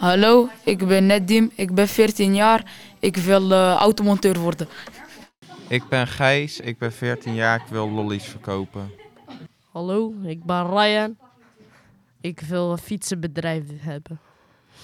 Hallo, ik ben Nedim, ik ben 14 jaar. Ik wil eh, automonteur worden. Ik ben Gijs, ik ben 14 jaar, ik wil lollies verkopen. Hallo, ik ben Ryan. Ik wil een fietsenbedrijf hebben.